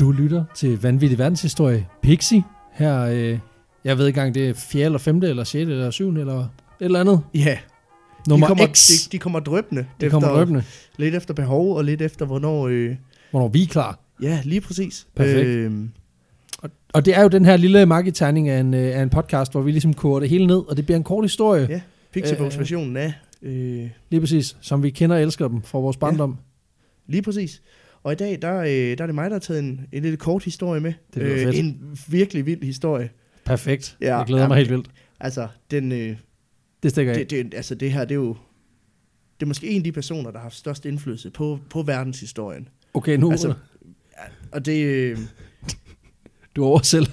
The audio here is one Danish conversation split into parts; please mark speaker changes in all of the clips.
Speaker 1: Du lytter til Vanvittig Verdenshistorie, Pixie. Her, øh, jeg ved ikke engang, det er 4. eller 5. eller 6. eller 7. eller et eller andet.
Speaker 2: Ja, de
Speaker 1: Nummer
Speaker 2: kommer,
Speaker 1: X.
Speaker 2: De, de kommer drøbende.
Speaker 1: Det de kommer løbende,
Speaker 2: Lidt efter behov, og lidt efter hvornår... Øh,
Speaker 1: hvornår vi er klar.
Speaker 2: ja, lige præcis.
Speaker 1: Perfekt.
Speaker 2: Øh,
Speaker 1: Og det er jo den her lille marketerning af en, øh, af en podcast, hvor vi ligesom koger det hele ned, og det bliver en kort historie.
Speaker 2: Ja. Pixabox
Speaker 1: Øh,
Speaker 2: versionen af... Øh,
Speaker 1: Lige præcis, som vi kender og elsker dem fra vores barndom.
Speaker 2: lige præcis. Og i dag, der, øh, der er det mig, der har taget en, en lille kort historie med. Øh,
Speaker 1: Det lyder fedt.
Speaker 2: En virkelig vild historie.
Speaker 1: Perfekt.
Speaker 2: Ja,
Speaker 1: jeg glæder
Speaker 2: ja.
Speaker 1: mig helt vildt.
Speaker 2: Altså, den, øh,
Speaker 1: Det stikker af.
Speaker 2: det, det, altså, det her, det er jo... Det er måske en af de personer, der har haft størst indflydelse på, på verdenshistorien.
Speaker 1: Okay, nu altså,
Speaker 2: altså- Og det... Øh,
Speaker 1: du over selv.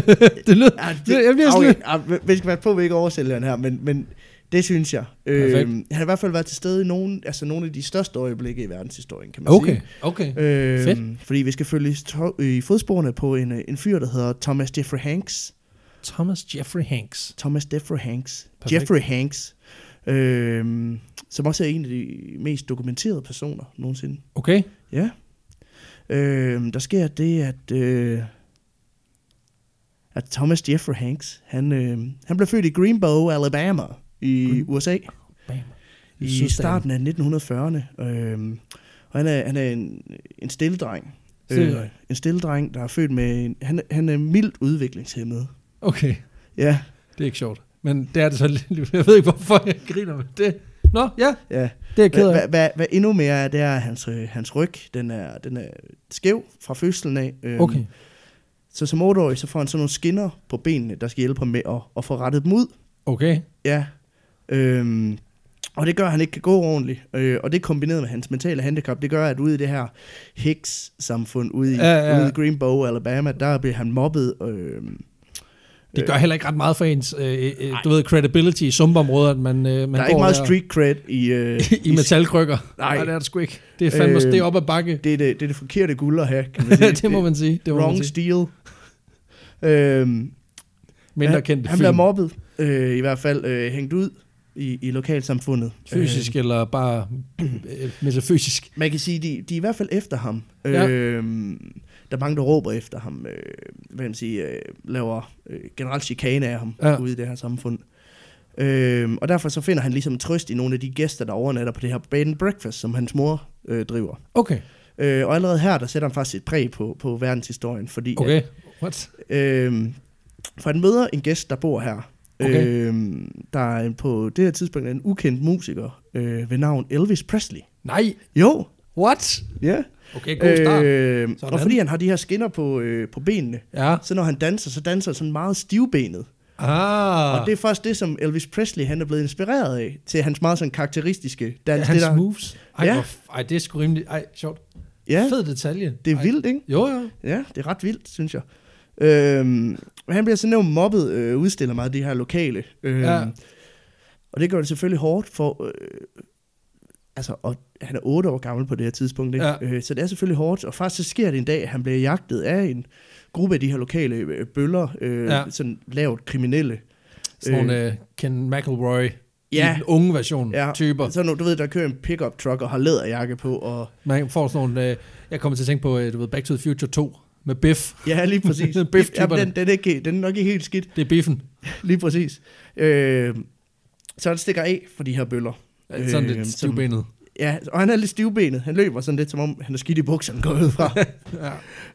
Speaker 1: det lyder...
Speaker 2: Ja,
Speaker 1: Det- jeg bliver sådan
Speaker 2: okay,
Speaker 1: lidt-
Speaker 2: ja, Ah, vi- vi skal være på, at vi ikke oversælger den her, men, men det synes jeg. Øh,
Speaker 1: Perfekt.
Speaker 2: han har i hvert fald været til stede i nogle, altså nogle af de største øjeblikke i verdenshistorien, kan man
Speaker 1: Okay,
Speaker 2: sige.
Speaker 1: okay.
Speaker 2: Øh,
Speaker 1: Fedt.
Speaker 2: Fordi vi skal følge i to- i fodsporene på en, øh, en fyr, der hedder Thomas Jeffrey Hanks.
Speaker 1: Thomas Jeffrey Hanks.
Speaker 2: Thomas Jeffrey Hanks.
Speaker 1: Perfekt.
Speaker 2: Jeffrey Hanks. Øh, som også er en af de mest dokumenterede personer nogensinde.
Speaker 1: Okay,
Speaker 2: Ja. Øh, der sker det, at, øh, at Thomas Jeffrey Hanks, han, øh, han blev født i Greenbow, Alabama i
Speaker 1: Green-
Speaker 2: USA
Speaker 1: Bam.
Speaker 2: i
Speaker 1: Sydstaten.
Speaker 2: starten af 1940'erne. Øh, og han er, han er en, en stille dreng.
Speaker 1: Stille dreng.
Speaker 2: en stille dreng, der er født med... En, han, han er mildt udviklingshemmet.
Speaker 1: Okay,
Speaker 2: Ja,
Speaker 1: det er ikke sjovt. Men det er det så lidt. Jeg ved ikke, hvorfor jeg griner med det. Nå, ja,
Speaker 2: ja.
Speaker 1: det er jeg ked
Speaker 2: Hvad,
Speaker 1: af.
Speaker 2: hvad, hvad, hvad endnu mere er, det er, at hans, øh, hans ryg, den er, den er skæv fra fødslen af. Øh,
Speaker 1: Okay,
Speaker 2: Så som otteårig, så får han sådan nogle skinner på benene, der skal hjælpe ham med at, at få rettet dem ud.
Speaker 1: okay.
Speaker 2: Ja. Øhm, og det gør, at han ikke kan gå ordentligt. Øh, og det kombineret med hans mentale handicap, det gør, at ude i det her Hicks-samfund, ude i,
Speaker 1: Ja, ja.
Speaker 2: ude i Greenbow, Alabama, der bliver han mobbet. Øh,
Speaker 1: Det gør heller ikke ret meget for ens, øh, øh, du ved, credibility i sumpområder, at man, øh, man
Speaker 2: der er ikke
Speaker 1: går
Speaker 2: meget
Speaker 1: der
Speaker 2: street cred i... Øh,
Speaker 1: i metalkrykker.
Speaker 2: Nej.
Speaker 1: det er det sgu ikke. Det er fandme,
Speaker 2: Øh,
Speaker 1: det er op ad bakke.
Speaker 2: Det er det, det er det forkerte guld at have, kan man sige.
Speaker 1: det må man sige. Det må man
Speaker 2: Wrong
Speaker 1: sige.
Speaker 2: steel. Øhm,
Speaker 1: Mindre
Speaker 2: han,
Speaker 1: kendte
Speaker 2: Han
Speaker 1: film.
Speaker 2: bliver mobbet, øh, i hvert fald øh, hængt ud i, i lokalsamfundet. Øh,
Speaker 1: Fysisk eller bare øh, metafysisk.
Speaker 2: Man kan sige, de, de er i hvert fald efter ham.
Speaker 1: Ja.
Speaker 2: Ja. Øhm, der er mange, der råber efter ham, øh, hvad kan man sige, øh, laver øh, generelt chikane af ham
Speaker 1: Ja.
Speaker 2: ja. ude i det her samfund. Øhm, og derfor så finder han ligesom trøst i nogle af de gæster, der overnatter på det her bed and breakfast, som hans mor øh, driver.
Speaker 1: Okay,
Speaker 2: Øh, og allerede her, der sætter han faktisk et præg på, på verdenshistorien, fordi okay.
Speaker 1: okay. What?
Speaker 2: Øhm, for han møder en gæst, der bor her.
Speaker 1: Okay.
Speaker 2: Okay. Øhm, der er en- på det her tidspunkt en ukendt musiker øh, ved navn Elvis Presley.
Speaker 1: Nej.
Speaker 2: Jo,
Speaker 1: What?
Speaker 2: ja.
Speaker 1: Okay, god start.
Speaker 2: Øhm,
Speaker 1: Sådan.
Speaker 2: og fordi han har de her skinner på, øh, på benene,
Speaker 1: Ja.
Speaker 2: så når han danser, så danser han sådan meget stivbenet.
Speaker 1: Ah.
Speaker 2: Ah. Og det er faktisk det, som Elvis Presley han er blevet inspireret af, til hans meget sådan karakteristiske dans.
Speaker 1: ja,
Speaker 2: det,
Speaker 1: hans
Speaker 2: der,
Speaker 1: moves. Ej,
Speaker 2: Ja.
Speaker 1: hvor f- ej, det er sgu rimelig... Ej, sjovt.
Speaker 2: ja,
Speaker 1: Fed detalje.
Speaker 2: det er
Speaker 1: Ej.
Speaker 2: vildt, ikke?
Speaker 1: Jo, jo.
Speaker 2: Ja, det er ret vildt, synes jeg. Øhm, han bliver sådan nævnt mobbet, øh, udstiller meget af de her lokale. Øhm,
Speaker 1: Ja.
Speaker 2: ja. Og det gør det selvfølgelig hårdt for... Øh, altså, og han er otte år gammel på det her tidspunkt, ikke?
Speaker 1: Ja.
Speaker 2: Øh, så det er selvfølgelig hårdt. Og faktisk så sker det en dag, at han bliver jagtet af en gruppe af de her lokale øh, bøller, øh,
Speaker 1: Ja.
Speaker 2: ja. sådan lavt kriminelle.
Speaker 1: Sådan nogle øh, Ken McElroy. Ja. I
Speaker 2: Ja.
Speaker 1: den unge version ja. typer.
Speaker 2: Så nu, du ved, der kører en pickup truck og har læderjakke på, og...
Speaker 1: Man får sådan nogle... Øh, jeg kommer til at tænke på, øh, du ved, Back to the Future 2 med Biff.
Speaker 2: Ja, lige præcis.
Speaker 1: Biff-typerne.
Speaker 2: Jamen, den, den, er ikke, den er nok ikke helt skidt.
Speaker 1: Det er Biffen.
Speaker 2: Lige præcis. Øh, så han stikker af for de her bøller.
Speaker 1: Øh, sådan lidt
Speaker 2: som-
Speaker 1: stivbenet.
Speaker 2: Ja, og han er lidt stivbenet. Han løber sådan lidt, som om han er skidt i bukserne, går jeg ud fra.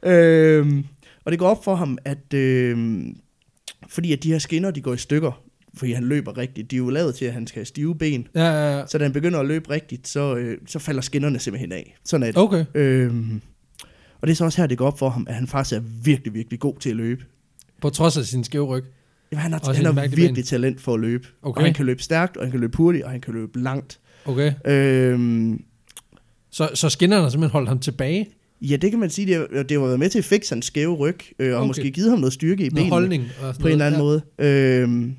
Speaker 1: Ja.
Speaker 2: øh, og det går op for ham, at øh, fordi at de her skinner, de går i stykker, fordi han løber rigtigt. De er jo lavet til, at han skal have stive ben.
Speaker 1: Ja, ja, ja.
Speaker 2: Så da han begynder at løbe rigtigt, så, øh, så falder skinnerne simpelthen af. Sådan er det.
Speaker 1: Okay.
Speaker 2: Øh, og det er så også her, det går op for ham, at han faktisk er virkelig, virkelig god til at løbe.
Speaker 1: På trods af sin skæve ryg.
Speaker 2: Jamen, han har,
Speaker 1: Også
Speaker 2: han
Speaker 1: en
Speaker 2: har
Speaker 1: mærkelig
Speaker 2: virkelig
Speaker 1: bane.
Speaker 2: talent for at løbe.
Speaker 1: Okay.
Speaker 2: Og han kan løbe stærkt, og han kan løbe hurtigt, og han kan løbe langt.
Speaker 1: Okay.
Speaker 2: Øhm,
Speaker 1: Så, så skinnerne har simpelthen holdt ham tilbage.
Speaker 2: ja, det kan man sige, det har, det har været med til at fikse hans skæve ryg, øh, og
Speaker 1: Okay.
Speaker 2: okay. måske givet ham noget styrke i
Speaker 1: Noget
Speaker 2: benene,
Speaker 1: holdning. Og sådan
Speaker 2: på en eller anden
Speaker 1: noget.
Speaker 2: måde. Øhm,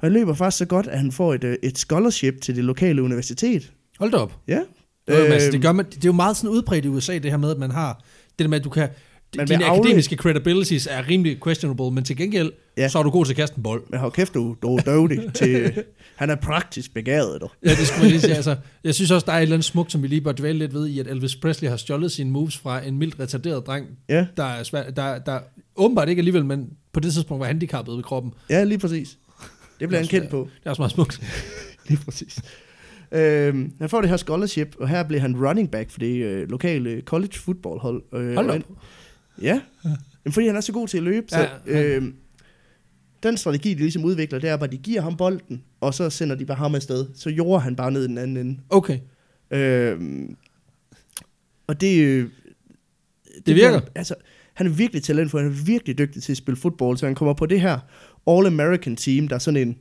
Speaker 2: og han løber faktisk så godt, at han får et, øh, et scholarship til det lokale universitet.
Speaker 1: Ja. Hold da op.
Speaker 2: Ja.
Speaker 1: Det, øhm. altså, det, gør man, det er jo meget sådan udbredt i USA, det her med, at man har det der med, at du kan
Speaker 2: Man
Speaker 1: dine
Speaker 2: vil afle-
Speaker 1: akademiske credibilities er rimelig questionable, men til gengæld,
Speaker 2: Ja.
Speaker 1: ja. så er du god til at kaste en bold.
Speaker 2: Men hold kæft, du, du er døvdig til... Han er praktisk begavet, du.
Speaker 1: Ja, det skulle man lige sige. Altså, jeg synes også, der er et eller andet smukt, som vi lige bør dvæle lidt ved, i at Elvis Presley har stjålet sine moves fra en mildt retarderet dreng,
Speaker 2: Ja,
Speaker 1: der, er svær, der, der åbenbart ikke alligevel, men på det tidspunkt var handicappet ved kroppen.
Speaker 2: ja lige præcis. Det bliver han kendt på.
Speaker 1: Det er også meget smukt.
Speaker 2: Lige præcis. Øhm, han får det her scholarship, og her bliver han running back for det øh, lokale college football hold. Øh,
Speaker 1: Hold
Speaker 2: og
Speaker 1: op.
Speaker 2: han- Ja, Jamen, fordi han er så god til at løbe. Så,
Speaker 1: Ja, ja.
Speaker 2: øhm, den strategi, de ligesom udvikler, det er, bare, at de giver ham bolden, og så sender de bare ham afsted. Så jorder han bare ned i den anden ende.
Speaker 1: Okay.
Speaker 2: Øhm, og det... øh,
Speaker 1: Det virker.
Speaker 2: bliver- altså, han er virkelig talentfuld, han er virkelig dygtig til at spille fodbold, så han kommer på det her All-American team, der er sådan en,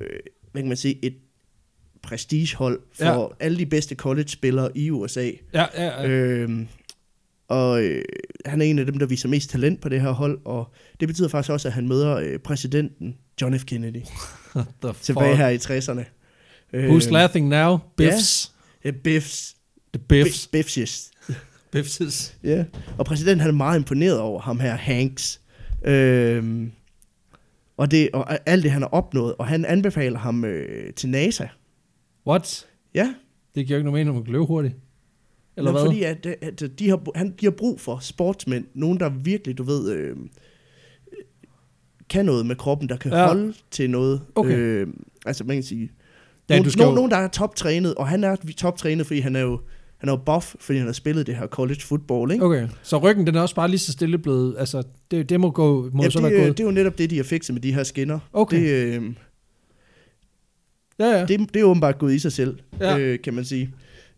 Speaker 2: øh, hvad kan man sige, et prestigehold for ja. alle de bedste college-spillere i USA.
Speaker 1: Ja, ja, ja.
Speaker 2: Ja. Øhm, og øh, han er en af dem, der viser mest talent på det her hold, og det betyder faktisk også, at han møder øh, præsidenten John F. Kennedy
Speaker 1: What the
Speaker 2: tilbage
Speaker 1: fuck?
Speaker 2: her i 60'erne.
Speaker 1: Who's laughing now? Biffs.
Speaker 2: Ja, Øh, Biffs.
Speaker 1: The Biffs.
Speaker 2: Biffs.
Speaker 1: Biffs.
Speaker 2: Ja, og præsidenten han er meget imponeret over ham her, Hanks. Øhm, og, det, og alt det, han har opnået, og han anbefaler ham øh, til NASA.
Speaker 1: What?
Speaker 2: Ja,
Speaker 1: Det giver jo ikke nogen mening, når man kan løbe hurtigt. Eller
Speaker 2: Nå,
Speaker 1: hvad?
Speaker 2: fordi at, øh, at de, har, han, de har brug for sportsmænd, nogen der virkelig, du ved, øh, kan noget med kroppen, der kan ja.
Speaker 1: Ja.
Speaker 2: holde til noget.
Speaker 1: Okay.
Speaker 2: Øh, altså man kan sige,
Speaker 1: Ja,
Speaker 2: nogen,
Speaker 1: du skal
Speaker 2: nogen,
Speaker 1: jo-
Speaker 2: nogen der er toptrænet, og han er toptrænet, fordi han er jo han er jo buff, fordi han har spillet det her college football, ikke?
Speaker 1: Okay, så ryggen den er også bare lige så stille blevet, altså det, det må gå, må
Speaker 2: Ja,
Speaker 1: så være
Speaker 2: det, øh,
Speaker 1: gået.
Speaker 2: det er jo netop det, de har fikset med de her skinner.
Speaker 1: Okay.
Speaker 2: Det, øh,
Speaker 1: ja, ja.
Speaker 2: det, det er åbenbart gået i sig selv, ja.
Speaker 1: Ja.
Speaker 2: øh, kan man sige.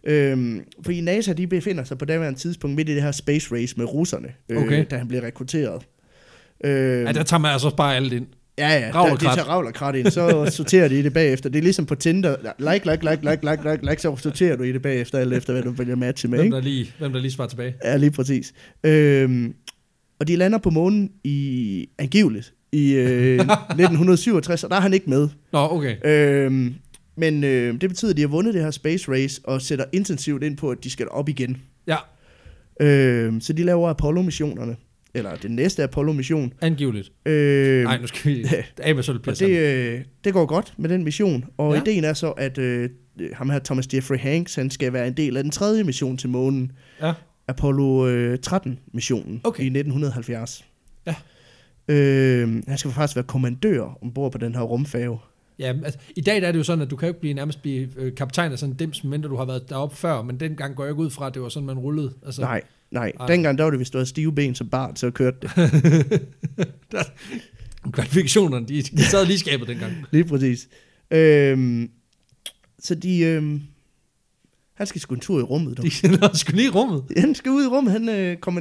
Speaker 2: Øhm, fordi NASA de befinder sig på daværende tidspunkt midt i det her space race med russerne, øh, okay.
Speaker 1: Okay.
Speaker 2: da han bliver rekrutteret. Øh,
Speaker 1: ja, der tager man altså også bare alt ind.
Speaker 2: ja, ja,
Speaker 1: Ravl og
Speaker 2: der, det
Speaker 1: krat.
Speaker 2: tager ravl og krat ind, så sorterer de i det bagefter. Det er ligesom på Tinder, like, like, like, like, like, like, like, så sorterer du i det bagefter, alt efter hvad du vælger at matche med.
Speaker 1: Hvem
Speaker 2: Ikke?
Speaker 1: der, lige, hvem der lige svarer tilbage.
Speaker 2: Ja, lige præcis. Øhm, og de lander på månen i, angiveligt, i øh, 1967, og der er han ikke med.
Speaker 1: Nå, okay.
Speaker 2: Øhm, men øh, det betyder, at de har vundet det her space race og sætter intensivt ind på, at de skal op igen.
Speaker 1: Ja,
Speaker 2: Øhm, så de laver Apollo-missionerne. Eller den næste Apollo-mission.
Speaker 1: angiveligt.
Speaker 2: Øhm,
Speaker 1: Nej, nu skal vi af med
Speaker 2: og
Speaker 1: sølvpladsen.
Speaker 2: det, øh, det går godt med den mission. Og ja.
Speaker 1: Ja.
Speaker 2: ideen er så, at øh, ham her Thomas Jeffrey Hanks, han skal være en del af den tredje mission til månen.
Speaker 1: Ja.
Speaker 2: Apollo øh, 13-missionen okay.
Speaker 1: Okay.
Speaker 2: i 1970.
Speaker 1: Ja.
Speaker 2: Øhm, han skal faktisk være kommandør ombord på den her rumfave.
Speaker 1: ja altså, I dag der er det jo sådan, at du kan jo ikke blive, nærmest blive øh, kaptajn af sådan en dims, mindre du har været deroppe før, men dengang går jeg ikke ud fra, at det var sådan, man rullede. Altså,
Speaker 2: Nej, nej.
Speaker 1: Ej.
Speaker 2: Dengang der var det, hvis du havde stive ben som barn, så kørte det.
Speaker 1: Kvalifikationerne, de, de sad lige i skabet dengang.
Speaker 2: Lige præcis. Øhm, så de... Øhm, han skal sgu en tur i rummet. Du.
Speaker 1: De lavede sgu lige i rummet.
Speaker 2: Han skal ud i rummet. Han øh, kommer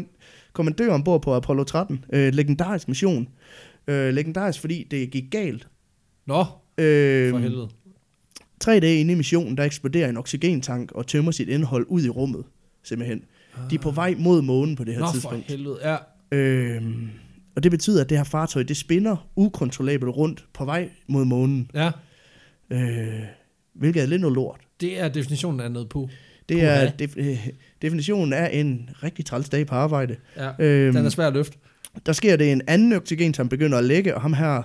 Speaker 2: kommandør ombord på Apollo 13. Øh, legendarisk mission. Øh, legendarisk, fordi det gik galt.
Speaker 1: Nå, for
Speaker 2: Øh,
Speaker 1: helvede.
Speaker 2: tre dage inde i missionen, der eksploderer en oxygentank og tømmer sit indhold ud i rummet, simpelthen. De er på vej mod månen på det her
Speaker 1: Ah. Nå, for
Speaker 2: tidspunkt.
Speaker 1: helvede. Ja,
Speaker 2: Øhm, og det betyder, at det her fartøj, det spinner ukontrollabelt rundt på vej mod månen.
Speaker 1: ja.
Speaker 2: Øh, hvilket er lidt noget lort.
Speaker 1: Det er definitionen af noget på.
Speaker 2: Det er
Speaker 1: Puha.
Speaker 2: def- øh, definitionen af en rigtig træls dag på arbejde.
Speaker 1: Ja.
Speaker 2: Øhm,
Speaker 1: Den er svær at løfte.
Speaker 2: Der sker det en anden oxygen, som begynder at lægge, og ham her,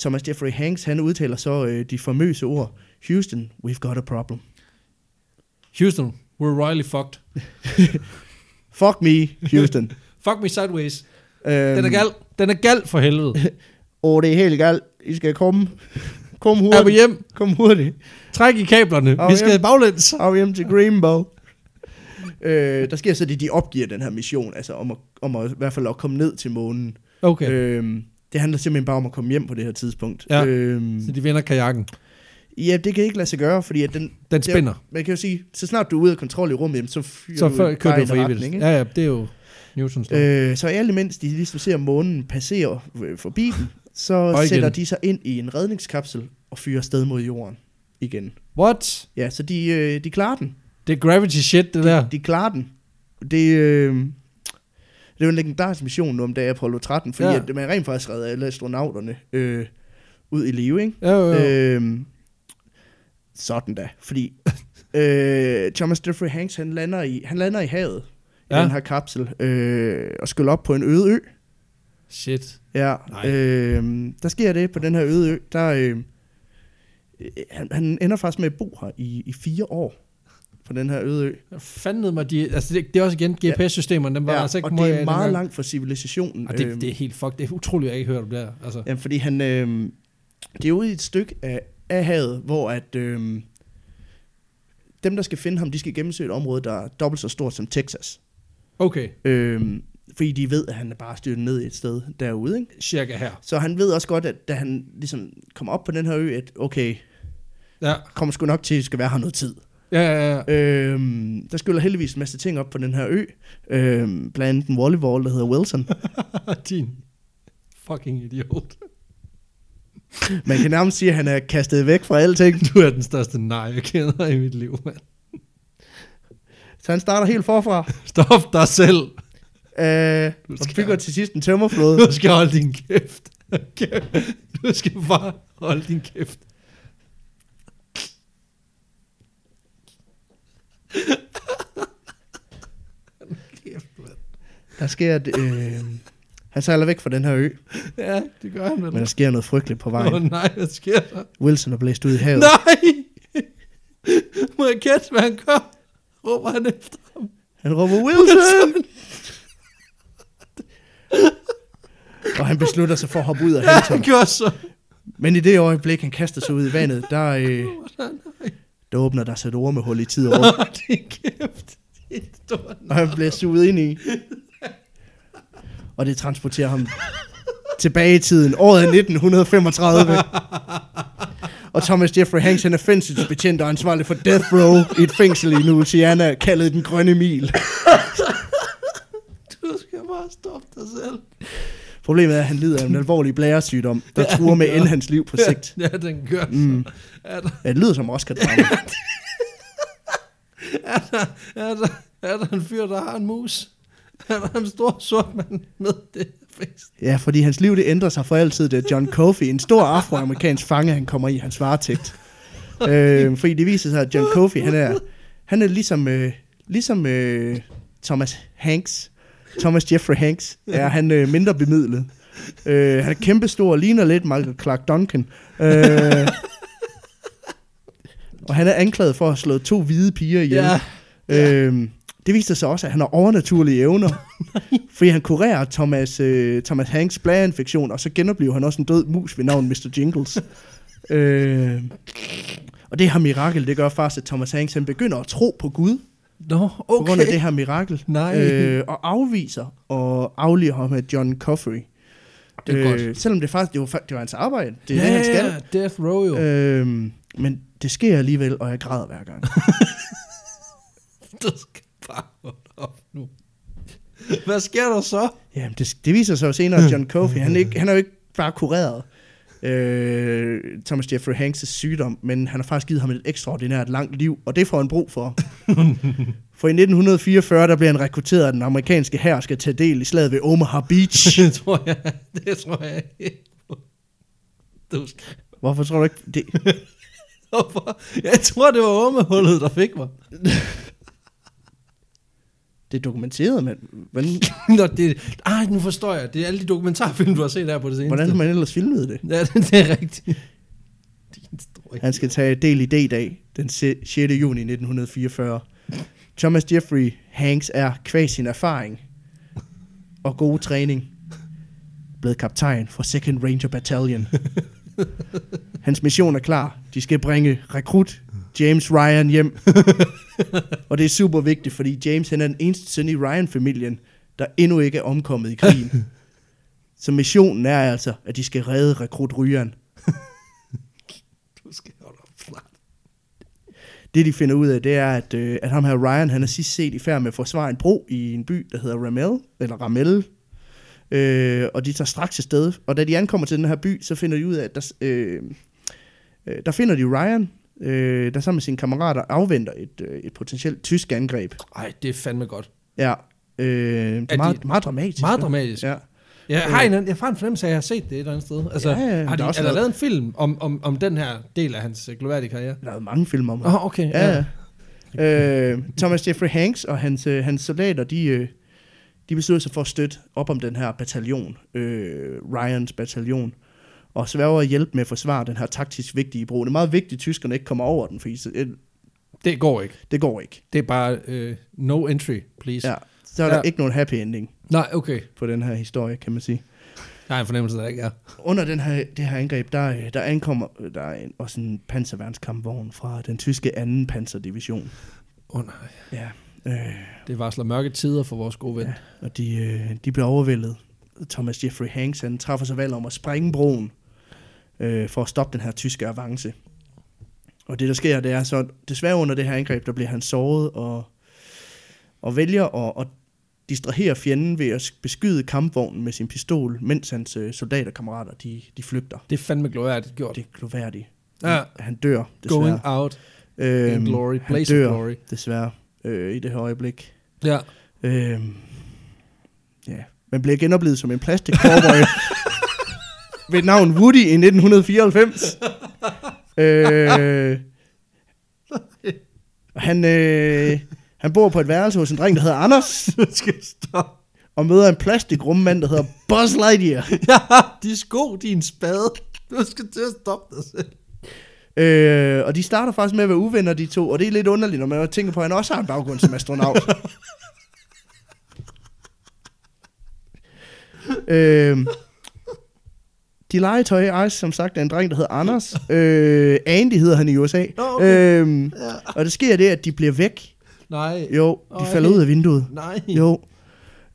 Speaker 2: Thomas Jeffrey Hanks, han udtaler så øh, de famøse ord, Houston, we've got a problem.
Speaker 1: Houston, we're royally fucked.
Speaker 2: Fuck me, Houston.
Speaker 1: Fuck me sideways.
Speaker 2: øhm,
Speaker 1: Den er gal. Den er gal for helvede.
Speaker 2: Åh, det er helt galt. I skal komme. Kom
Speaker 1: Er vi
Speaker 2: hurtigt.
Speaker 1: hjem?
Speaker 2: Kom hurtigt.
Speaker 1: Træk i kablerne.
Speaker 2: Og
Speaker 1: Vi skal
Speaker 2: hjem.
Speaker 1: baglæns.
Speaker 2: Og hjem til Greenbow. øh, der sker så det, de opgiver den her mission, altså om at, om at i hvert fald at komme ned til månen.
Speaker 1: Okay. Øh.
Speaker 2: Okay. Øhm, det handler simpelthen bare om at komme hjem på det her tidspunkt.
Speaker 1: Ja.
Speaker 2: Øhm,
Speaker 1: Så de vinder kajakken.
Speaker 2: ja, det kan ikke lade sig gøre, fordi at den...
Speaker 1: Den spænder.
Speaker 2: Der, man kan jo sige, så snart du er ude af kontrol i rummet, jamen, så fyrer
Speaker 1: Så
Speaker 2: du
Speaker 1: for,
Speaker 2: bare
Speaker 1: kører
Speaker 2: i
Speaker 1: det
Speaker 2: en
Speaker 1: for evigt.
Speaker 2: retning, ikke?
Speaker 1: Ja, ja, det er jo Newtons lov. Øh.
Speaker 2: Øh, så alt imens de ligesom ser månen passere øh, forbi den, så
Speaker 1: Og igen.
Speaker 2: sætter de sig ind i en redningskapsel og fyrer sted mod jorden igen.
Speaker 1: What?
Speaker 2: Ja, så de, øh, de klarer den.
Speaker 1: Det er gravity shit, det der.
Speaker 2: De klarer den. Det, øh, det var en legendarisk mission nu om dag Apollo 13, fordi ja.
Speaker 1: Ja.
Speaker 2: at man rent faktisk redder alle astronauterne øh, ud i live, ikke?
Speaker 1: Ja, jo, jo. Øh.
Speaker 2: Øh, sådan da, fordi øh, Thomas Jeffrey Hanks, han lander i, han lander i havet ja.
Speaker 1: Ja.
Speaker 2: den her kapsel, øh, og skylle op på en øde ø.
Speaker 1: Shit.
Speaker 2: Ja,
Speaker 1: Nej.
Speaker 2: øh, der sker det på den her øde ø. Der, øh, øh, han, han ender faktisk med at bo her i, i fire år på den her øde ø.
Speaker 1: Fanden mig, de, altså det, det er også igen GPS-systemerne, dem var ja, altså ikke
Speaker 2: og det er
Speaker 1: møg-
Speaker 2: meget
Speaker 1: dengang.
Speaker 2: langt fra civilisationen.
Speaker 1: Og det,
Speaker 2: øhm.
Speaker 1: det, er helt fuck, det er utroligt, at jeg ikke hørte om det her. Altså,
Speaker 2: Jamen, fordi han... Øh, det er ude i et stykke af, af havet, hvor at... Øh, dem, der skal finde ham, de skal gennemsøge et område, der er dobbelt så stort som Texas.
Speaker 1: okay,
Speaker 2: Øh, fordi de ved, at han er bare styrt ned et sted derude, ikke?
Speaker 1: cirka her.
Speaker 2: Så han ved også godt, at da han ligesom kommer op på den her ø, at okay,
Speaker 1: Ja,
Speaker 2: kommer sgu nok til, at I skal være her noget tid.
Speaker 1: ja, ja. ja.
Speaker 2: Øhm, der skyller heldigvis en masse ting op på den her ø. Øhm, blandt andet en volleyball, der hedder Wilson.
Speaker 1: Din fucking idiot.
Speaker 2: Man kan nærmest sige, at han er kastet væk fra alting.
Speaker 1: Du er den største nej, jeg kender i mit liv, mand.
Speaker 2: Så han starter helt forfra.
Speaker 1: Stop dig selv.
Speaker 2: Øh,
Speaker 1: Du
Speaker 2: og
Speaker 1: skal-
Speaker 2: bygger til sidst en tømmerflåde.
Speaker 1: Du skal holde din kæft. Kæft. Du skal bare holde din kæft.
Speaker 2: Der sker et, øh, han sejler væk fra den her ø,
Speaker 1: Ja, det gør han vel.
Speaker 2: men der sker noget frygteligt på
Speaker 1: Åh
Speaker 2: vejen.
Speaker 1: oh, nej, hvad sker der?
Speaker 2: Wilson er blæst ud i havet.
Speaker 1: Nej! Må jeg kætte, hvad han gør? Råber han efter ham.
Speaker 2: Han råber, Wilson! og han beslutter sig for at hoppe ud af
Speaker 1: Ja, han
Speaker 2: hælteren.
Speaker 1: gør så.
Speaker 2: Men i det øjeblik, han kaster sig ud i vandet, der, øh, der åbner der sig et ormehul i tid og rum,
Speaker 1: Åh, din kæft. Din store
Speaker 2: og han bliver suget ind i. Og det transporterer ham tilbage i tiden, året er 1935. Og Thomas Jeffrey Hanks, han er fængselsbetjent og ansvarlig for Death Row i et fængsel i Louisiana, kaldet Den Grønne Mil.
Speaker 1: Du skal bare stoppe dig selv.
Speaker 2: Problemet er, at han lider af en alvorlig blæresygdom, der truer med at ende hans liv på sigt.
Speaker 1: Ja, den gør
Speaker 2: Mm.
Speaker 1: så. Er der,
Speaker 2: Ja, det lyder som oscar drama
Speaker 1: er, der, er, der, er der en fyr, der har en mus? Er der en stor sort mand med det fængsel?
Speaker 2: Ja, fordi hans liv det ændrer sig for altid, da John Coffey, en stor afroamerikansk fange, han kommer i hans varetægt. øh, fordi det viser sig, at John Coffey, han er, han er ligesom, øh, ligesom øh, Thomas Hanks, Thomas Jeffrey Hanks, er han øh, mindre bemidlet. Øh, han er kæmpestor og ligner lidt Michael Clark Duncan. Øh, og han er anklaget for at have slået to hvide piger ihjel.
Speaker 1: Ja.
Speaker 2: Øhm, det viste sig også, at han har overnaturlige evner, fordi han kurerer Thomas, øh, Thomas Hanks bladeinfektion, og så genoplever han også en død mus ved navn Mr. Jingles. øh, og det her mirakel, det gør faktisk, at Thomas Hanks han begynder at tro på Gud, okay.
Speaker 1: Nå,
Speaker 2: på grund af det her mirakel,
Speaker 1: Nej.
Speaker 2: øh, og afviser og afliver ham af John Coffey.
Speaker 1: Det er godt.
Speaker 2: Selvom det faktisk det var, fa- det var hans arbejde, det er ja, det, han skal.
Speaker 1: Death Row jo. Øh.
Speaker 2: Øhm, men det sker alligevel, og jeg græder hver gang.
Speaker 1: Du skal bare holde op nu. Hvad sker der så?
Speaker 2: Jamen, det, det viser sig jo senere, at John Coffey, han, er ikke, han er jo ikke bare kureret øh, Thomas Jeffrey Hanks' sygdom, men han har faktisk givet ham et ekstraordinært langt liv, og det får han brug for. For i 1944, der bliver han rekrutteret af den amerikanske hær og skal tage del i slaget ved Omaha Beach.
Speaker 1: Det tror jeg, det tror jeg ikke. Du skal...
Speaker 2: Hvorfor tror du ikke det?
Speaker 1: Hvorfor? Jeg tror, det var ormehullet, der fik mig.
Speaker 2: Det er dokumenteret, men hvordan,
Speaker 1: Nå, det, ej, nu forstår jeg. Det er alle de dokumentarfilm, du har set her på det seneste.
Speaker 2: hvordan har man ellers filmet det?
Speaker 1: Ja, det, det er rigtigt. Din store
Speaker 2: Han skal tage del i D-dag den se- 6. juni 1944. Thomas Jeffrey Hanks er kvæg sin erfaring og god træning blevet kaptajn for 2nd Ranger Battalion. Hans mission er klar. De skal bringe rekrut James Ryan hjem. Og det er super vigtigt, fordi James han er den eneste søn i Ryan-familien, der endnu ikke er omkommet i krigen. Så missionen er altså, at de skal redde rekrut Ryan.
Speaker 1: Du skal holde op snart.
Speaker 2: Det de finder ud af, det er, at, øh, at ham her Ryan, han er sidst set i færd med at forsvare en bro i en by, der hedder Ramel, eller Ramel. Øh, og de tager straks afsted. Og da de ankommer til den her by, så finder de ud af, at der, s- øh, øh, der finder de Ryan, øh, der sammen med sine kammerater afventer et, øh, et potentielt tysk angreb.
Speaker 1: Ej, det er fandme godt.
Speaker 2: Ja, øh, det er
Speaker 1: Er
Speaker 2: meget,
Speaker 1: de-
Speaker 2: meget dramatisk.
Speaker 1: Meget
Speaker 2: hva'?
Speaker 1: dramatisk. Ja.
Speaker 2: Ja.
Speaker 1: Jeg, har en, anden- jeg har en fornemmelse af, at jeg har set det et eller andet sted. Altså,
Speaker 2: Ja, ja,
Speaker 1: har de,
Speaker 2: der er
Speaker 1: er,
Speaker 2: også
Speaker 1: der
Speaker 2: noget-
Speaker 1: lavet en film om, om, om den her del af hans øh, gloværdige karriere?
Speaker 2: Der er mange film om ham.
Speaker 1: Åh, oh, okay.
Speaker 2: Ja, ja. øh, Thomas Jeffrey Hanks og hans, øh, hans soldater, de, øh, de beslutter sig for at støtte op om den her bataljon, øh, Ryans bataljon, og sværger at hjælpe med at forsvare den her taktisk vigtige bro. Det er meget vigtigt, at tyskerne ikke kommer over den, for øh,
Speaker 1: Det går ikke.
Speaker 2: det går ikke.
Speaker 1: Det er bare øh, no entry, please.
Speaker 2: Ja, så er der
Speaker 1: Ja.
Speaker 2: ja. ikke nogen happy ending
Speaker 1: Nej, okay.
Speaker 2: på den her historie, kan man sige.
Speaker 1: Jeg har en fornemmelse, der ikke er.
Speaker 2: Under den her, det her angreb, der, øh, der ankommer der er en, også en panserværnskampvogn fra den tyske 2. panserdivision.
Speaker 1: Åh oh, nej.
Speaker 2: Ja, øh,
Speaker 1: Det varsler mørke tider for vores gode ven. Ja.
Speaker 2: og de, øh, de bliver overvældet. Thomas Jeffrey Hanks, han træffer sig valg om at sprænge broen øh, for at stoppe den her tyske avance. Og det, der sker, det er så, desværre under det her angreb, der bliver han såret og, og vælger at, at distrahere fjenden ved at beskyde kampvognen med sin pistol, mens hans øh, soldaterkammerater, de, de flygter.
Speaker 1: Det er fandme glorværdigt gjort.
Speaker 2: Det er gloværdigt.
Speaker 1: Ja.
Speaker 2: Han dør,
Speaker 1: Going
Speaker 2: desværre.
Speaker 1: out
Speaker 2: Øhm,
Speaker 1: in glory,
Speaker 2: han
Speaker 1: blaze
Speaker 2: dør,
Speaker 1: of glory.
Speaker 2: desværre, øh, i det her øjeblik.
Speaker 1: Ja.
Speaker 2: Øhm, ja. Man bliver genoplevet som en plastik cowboy ved navn Woody i 1994. øh, og han, øh, han bor på et værelse hos en dreng, der hedder Anders,
Speaker 1: Du skal stoppe.
Speaker 2: og møder en plastikrummmand, der hedder Buzz Lightyear.
Speaker 1: Ja, de sko, din spade. Du skal til at stoppe dig selv.
Speaker 2: Øh, og de starter faktisk med at være uvenner, de to, og det er lidt underligt, når man tænker på, at han også har en baggrund som astronaut. øh, de legetøj Ice, som sagt, er en dreng, der hedder Anders. Øh, Andy hedder han i USA.
Speaker 1: Nå, okay.
Speaker 2: øh,
Speaker 1: Ja.
Speaker 2: og det sker det, at de bliver væk.
Speaker 1: Nej.
Speaker 2: Jo, de
Speaker 1: Ej.
Speaker 2: falder ud af vinduet.
Speaker 1: Nej.
Speaker 2: Jo.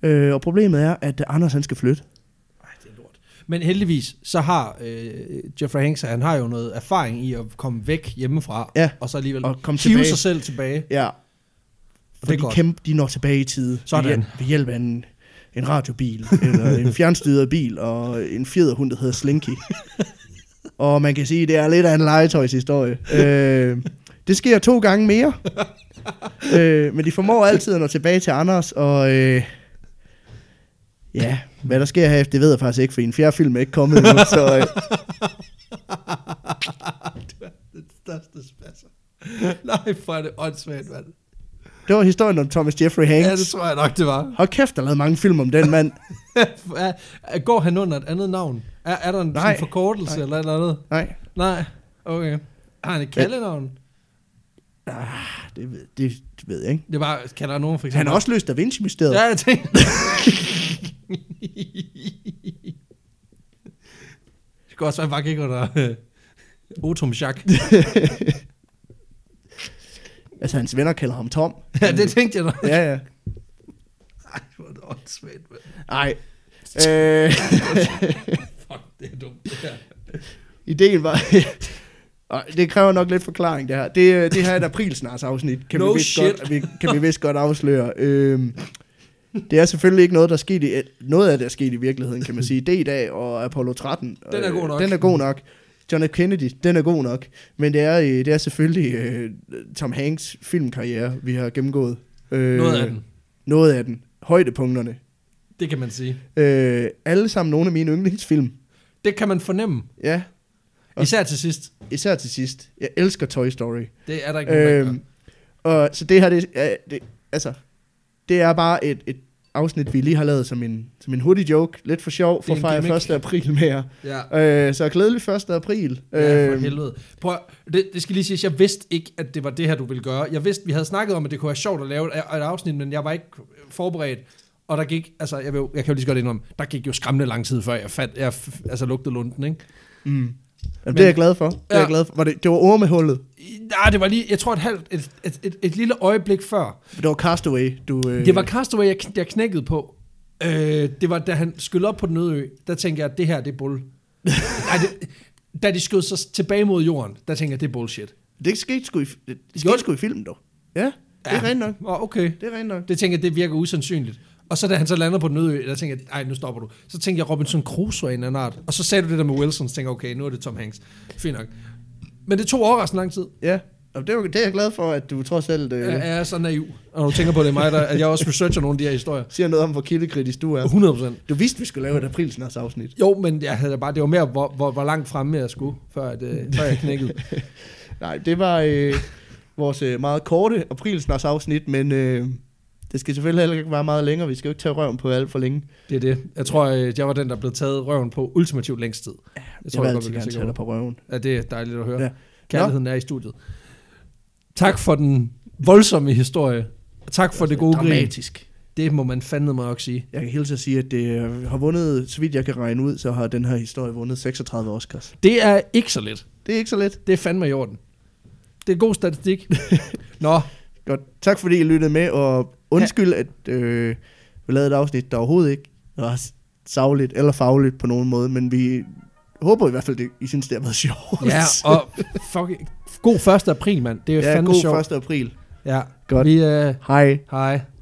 Speaker 2: Øh, og problemet er, at Anders han skal flytte.
Speaker 1: Ej, det er lort. Men heldigvis, så har øh, Jeffrey Hanks, han har jo noget erfaring i at komme væk hjemmefra,
Speaker 2: Ja.
Speaker 1: og så alligevel
Speaker 2: Og komme
Speaker 1: hive
Speaker 2: tilbage.
Speaker 1: sig selv tilbage.
Speaker 2: Ja. For
Speaker 1: er
Speaker 2: de,
Speaker 1: godt.
Speaker 2: kæmpe, de når tilbage i tide.
Speaker 1: Sådan.
Speaker 2: Ved hjælp, ved hjælp af en, en radiobil, eller en fjernstyret bil, og en fjederhund, der hedder Slinky. og man kan sige, det er lidt af en legetøjshistorie. Øh, det sker to gange mere. øh, men de formår altid at nå tilbage til Anders, og... Øh, ja, hvad der sker herefter, det ved jeg faktisk ikke, for en fjerde film er ikke kommet endnu, så... Øh,
Speaker 1: Den største spasser. Nej, for er det åndssvagt, mand.
Speaker 2: det var historien om Thomas Jeffrey
Speaker 1: Ja, det
Speaker 2: Hanks.
Speaker 1: tror jeg nok, det var.
Speaker 2: Hold kæft, der er lavet mange film om den mand.
Speaker 1: Er- er- Går han under et andet navn? Er, er der en
Speaker 2: Nej.
Speaker 1: sådan forkortelse
Speaker 2: Nej.
Speaker 1: eller et eller andet?
Speaker 2: Nej,
Speaker 1: Nej, okay. Har han et kaldenavn?
Speaker 2: Ah, det, ved- det, det ved jeg ikke.
Speaker 1: Det var, kan der nogen for eksempel?
Speaker 2: Han har også løst Da Vinci-mysteriet.
Speaker 1: Ja, jeg tænkte. det kunne også være, at jeg bare gik under øh, Otum Jacques.
Speaker 2: Altså, hans venner kalder ham Tom.
Speaker 1: ja, det tænkte jeg da.
Speaker 2: Ja, ja.
Speaker 1: Ej, hvor er det åndssvagt, mand.
Speaker 2: Ej. Øh,
Speaker 1: Fuck, det er dumt. Det her.
Speaker 2: ideen var... Ej, det kræver nok lidt forklaring, det her. Det, øh, det her er et aprilsnars afsnit, kan,
Speaker 1: No
Speaker 2: vi vist
Speaker 1: shit.
Speaker 2: godt, vi, kan vi vist godt afsløre. Øhm, det er selvfølgelig ikke noget, der er sket i, noget af det, der er sket i virkeligheden, kan man sige. Det i dag og Apollo 13.
Speaker 1: Den er god nok.
Speaker 2: Den er god nok. John F. Kennedy, den er god nok. Men det er, øh, det er selvfølgelig øh, Tom Hanks filmkarriere, vi har gennemgået. Øh,
Speaker 1: Noget af den.
Speaker 2: Noget af den. Højdepunkterne.
Speaker 1: Det kan man sige.
Speaker 2: Øh, alle sammen nogle af mine yndlingsfilm.
Speaker 1: Det kan man fornemme.
Speaker 2: Ja, Og-
Speaker 1: Især til sidst.
Speaker 2: især til sidst. Jeg elsker Toy Story.
Speaker 1: Det er der ikke nogen, der
Speaker 2: Øhm,
Speaker 1: gør.
Speaker 2: og så det her, det, er- det, altså, det er bare et, et afsnit, vi lige har lavet som en, som en hurtig joke. Lidt for sjov, for
Speaker 1: Det er
Speaker 2: at
Speaker 1: en
Speaker 2: fejre
Speaker 1: gimmick.
Speaker 2: 1. april med jer.
Speaker 1: Ja.
Speaker 2: Øh, så glædelig 1. april.
Speaker 1: Ja, for
Speaker 2: Øhm,
Speaker 1: helvede. Prøv, at- det, det skal lige siges, jeg vidste ikke, at det var det her, du ville gøre. Jeg vidste, vi havde snakket om, at det kunne være sjovt at lave et, et afsnit, men jeg var ikke forberedt. Og der gik, altså jeg, vil, jo- jeg kan jo lige så godt indrømme, der gik jo skræmmende lang tid, før jeg, fat, jeg f- altså, lugtede lunden, ikke?
Speaker 2: mm. Jamen, det
Speaker 1: Men-
Speaker 2: er jeg glad for. Det er
Speaker 1: Ja.
Speaker 2: jeg glad for. Var det, det var ormehullet.
Speaker 1: I- Nej, det var lige, jeg tror et halvt, et, et, et, et lille øjeblik før.
Speaker 2: Det var Castaway, du... Øh,
Speaker 1: Det var Castaway, jeg, kn- jeg knækkede på. Øh, det var, da han skyldte op på den øde ø, der tænkte jeg, at det her, det er bull. Nej, det, da de skød sig tilbage mod jorden, der tænkte jeg, det er bullshit.
Speaker 2: Det skete sgu i, det
Speaker 1: Jo.
Speaker 2: skete sgu i filmen, dog. Ja, det er
Speaker 1: Ja.
Speaker 2: rent nok.
Speaker 1: Åh, okay.
Speaker 2: Det er rent nok.
Speaker 1: Det tænker jeg, det virker usandsynligt. Og så da han så lander på den øde ø, der tænker jeg, nej, nu stopper du. Så tænker jeg Robinson Crusoe af en eller anden art. Og så sagde du det der med Wilson, så tænker jeg, okay, nu er det Tom Hanks. Fint nok. Men det tog overraskende lang tid.
Speaker 2: Ja, og det, var, det er jeg glad for, at du trods alt øh,
Speaker 1: Jeg jeg er så naiv. Og når du tænker på, det er mig, der, at jeg også researcher nogle af de her historier.
Speaker 2: siger noget om, hvor kildekritisk du er.
Speaker 1: 100 procent.
Speaker 2: Du vidste, vi skulle lave et aprilsnars afsnit.
Speaker 1: Jo, men jeg havde da bare, det var mere, hvor, hvor, hvor langt fremme jeg skulle, før, at, øh, før jeg knækkede.
Speaker 2: Nej, det var... Øh, vores øh, meget korte aprilsnars afsnit, men øh, det skal selvfølgelig heller ikke være meget længere. Vi skal jo ikke tage røven på alt for længe.
Speaker 1: Det er det. Jeg tror, øh, jeg var den, der blev taget røven på ultimativt længst tid.
Speaker 2: Jeg,
Speaker 1: tror,
Speaker 2: tror,
Speaker 1: jeg
Speaker 2: jeg vil
Speaker 1: godt,
Speaker 2: altid
Speaker 1: vi kan
Speaker 2: gerne
Speaker 1: sikre
Speaker 2: tage dig
Speaker 1: det.
Speaker 2: på røven.
Speaker 1: Ja, det er dejligt at høre.
Speaker 2: Ja.
Speaker 1: Ja. Kærligheden er i studiet. Tak for den voldsomme historie. Tak for det gode grin.
Speaker 2: Dramatisk.
Speaker 1: Det må man fandme mig også sige.
Speaker 2: Jeg kan helt at sige, at det øh, har vundet, så vidt jeg kan regne ud, så har den her historie vundet 36 Oscars.
Speaker 1: Det er ikke så let.
Speaker 2: Det er ikke så let.
Speaker 1: Det er fandme i orden. Det er god statistik. Nå,
Speaker 2: Godt. Tak fordi I lyttede med, og undskyld, at øh, vi lavede et afsnit, der overhovedet ikke var savligt eller fagligt på nogen måde, men vi håber i hvert fald, at I synes, det har været sjovt.
Speaker 1: ja, og fuck, god 1. april, mand. Det er
Speaker 2: ja
Speaker 1: fandme
Speaker 2: god
Speaker 1: sjovt.
Speaker 2: 1. april.
Speaker 1: Ja,
Speaker 2: Godt.
Speaker 1: Vi, øh,
Speaker 2: Hej.
Speaker 1: hej.